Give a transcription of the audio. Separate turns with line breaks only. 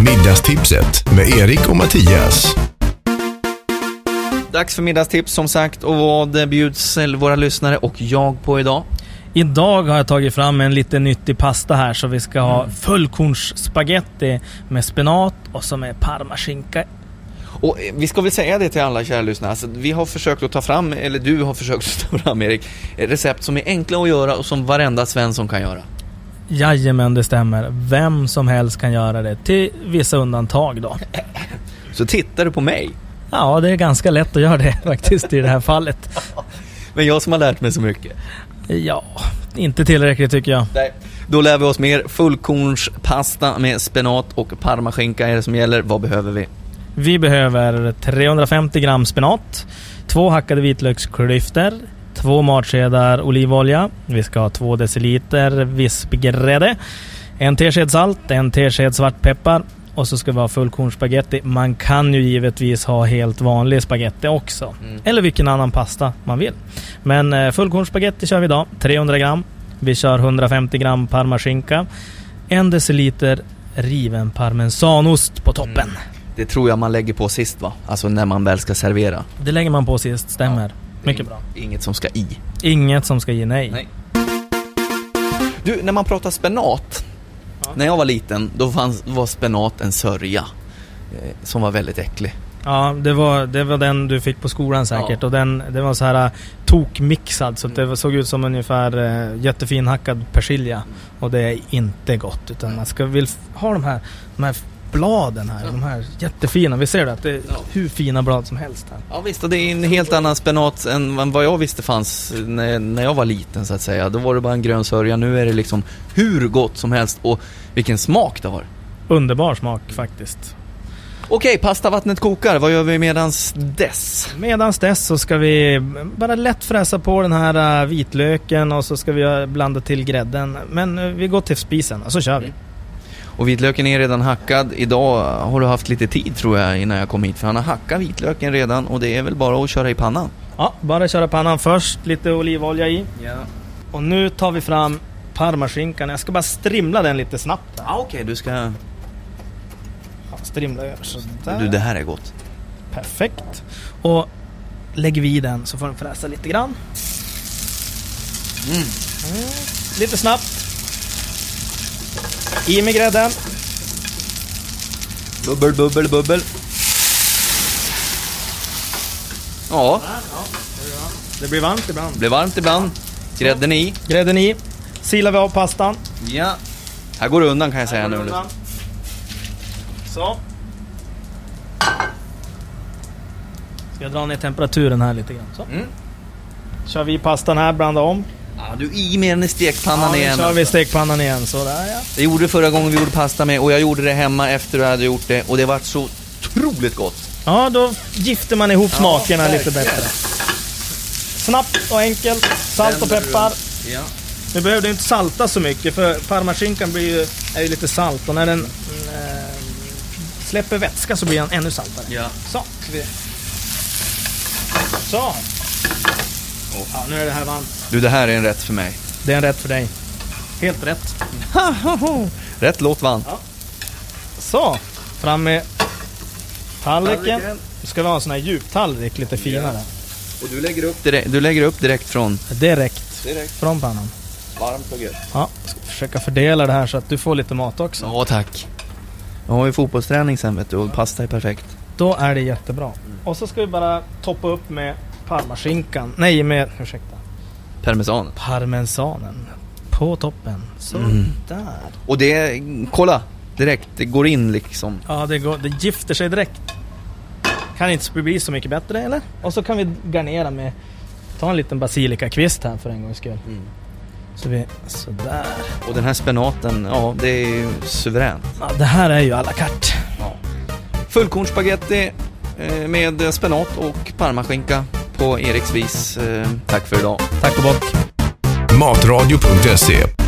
Middagstipset med Erik och Mattias.
Dags för middagstips som sagt och vad bjuds eh, våra lyssnare och jag på idag?
Idag har jag tagit fram en lite nyttig pasta här så vi ska ha fullkornsspagetti med spenat och så med parmaskinka.
Och eh, vi ska väl säga det till alla kära lyssnare, alltså, vi har försökt att ta fram, eller du har försökt att ta fram Erik, eh, recept som är enkla att göra och som varenda svensson kan göra.
Jajamän, det stämmer. Vem som helst kan göra det. Till vissa undantag då.
Så tittar du på mig,
Ja, det är ganska lätt att göra det faktiskt i det här fallet.
men jag som har lärt mig så mycket.
Ja, inte tillräckligt tycker jag.
Nej. Då lär vi oss mer. Fullkornspasta med spenat och parmaskinka är det som gäller. Vad behöver vi?
Vi behöver 350 gram spenat, två hackade vitlöksklyftor, två matskedar olivolja, vi ska ha två deciliter vispgrädde, en tesked salt, en tesked svartpeppar och så ska vi ha fullkornsspagetti. Man kan ju givetvis ha helt vanlig spagetti också. Eller vilken annan pasta man vill. Men eh, fullkornsspagetti kör vi idag, 300 gram. Vi kör 150 gram parmaskinka, en deciliter riven parmesanost på toppen.
Det tror jag man lägger på sist va? Alltså när man väl ska servera.
Det lägger man på sist, stämmer.
Det är
Mycket bra.
Inget som ska i.
Inget som ska ge nej.
Nej. Du, när man pratar spenat. När jag var liten, då fanns, var spenat en sörja. Eh, som var väldigt äcklig.
Ja, det var, det var den du fick på skolan säkert.
Ja. Mm.
Och den, den var så här eh, tokmixad. Så att det såg ut som ungefär eh, jättefinhackad persilja. Och det är inte gott. Utan man ska vill f- ha de här, de här bladen här. De här jättefina. Vi ser det att det är
Ja.
hur fina blad som helst här.
Ja visst, och det är en helt annan spenat än vad jag visste fanns eh, när, när jag var liten så att säga. Då var det bara en grön sörja. Nu är det liksom hur gott som helst och vilken smak det har.
Underbar smak faktiskt.
Okej, pastavattnet kokar. Vad gör vi medans dess?
Medans dess så ska vi mm, bara lätt fräsa på den här eh, vitlöken och så ska vi eh, blanda till grädden. Men eh, vi går till spisen och så kör vi.
Och vitlöken är redan hackad. Idag har du haft lite tid tror jag innan jag kom hit. För han har hackat vitlöken redan och det är väl bara att köra i pannan.
Ja, bara köra pannan först. Lite olivolja i.
Ja.
Och nu tar vi fram parmaskinkan. Jag ska bara strimla den lite snabbt.
Ah, Okej, du ska...
Ja, Strimla över sådär.
Du, det här är gott.
Perfekt. Och lägger vi i den så får den fräsa lite grann. Mm. Lite snabbt. I med grädden.
Bubbel, bubbel, bubbel. Ja,
Det blir varmt ibland.
blir varmt ibland. Grädden i.
Grädden i. Silar vi av pastan.
Ja. Här går det undan kan jag säga nu.
Undan. Så. Ska jag dra ner temperaturen här lite grann. Så.
Mm.
Kör vi pastan här, blanda om.
Ah, du, i med den i stekpannan
nu
igen. alltså.
kör vi stekpannan igen. Sådär ja.
Det gjorde vi förra gången vi gjorde pasta med och jag gjorde det hemma efter du hade gjort det och det vart så otroligt gott.
Ja, då gifter man ihop smakerna lite bättre. Snabbt och enkelt. Salt och peppar.
Ja.
Nu behöver du inte salta så mycket för parmaskinkan blir ju, är ju lite salt och när den eh, släpper vätska så blir den ännu saltare.
Ja.
Så. ska vi- Så. Ja, nu är det här varmt.
Du, det här är en rätt för mig.
Det är en rätt för dig. Helt rätt.
Rätt låt vann.
Så, fram med tallriken. Nu ska vi ha en sån här djuptallrik, lite finare.
Och du lägger upp direkt, du lägger upp direkt från...
Direkt
Direkt.
från pannan.
Varmt och gött.
Ja, ska försöka fördela det här så att du får lite mat också.
Ja, tack. Jag har ju fotbollsträning sen vet du och pasta är perfekt.
Då är det jättebra. Och så ska vi bara toppa upp med parmaskinkan. Nej, med, ursäkta,
Parmesan.
parmesanen. På toppen. Så där.
Och det, kolla! Direkt, det går in liksom.
Ja, det, går, det gifter sig direkt. Kan inte bli så mycket bättre, eller? Och så kan vi garnera med... Ta en liten basilikakvist här för en gångs skull.
Mm.
Så vi... Sådär.
Och den här spenaten, ja det är ju suveränt.
Ja, det här är ju à la carte.
Fullkornsspagetti eh, med spenat och parmaskinka på Eriks vis. Eh, Tack för idag.
Tack och bock.
Matradio.se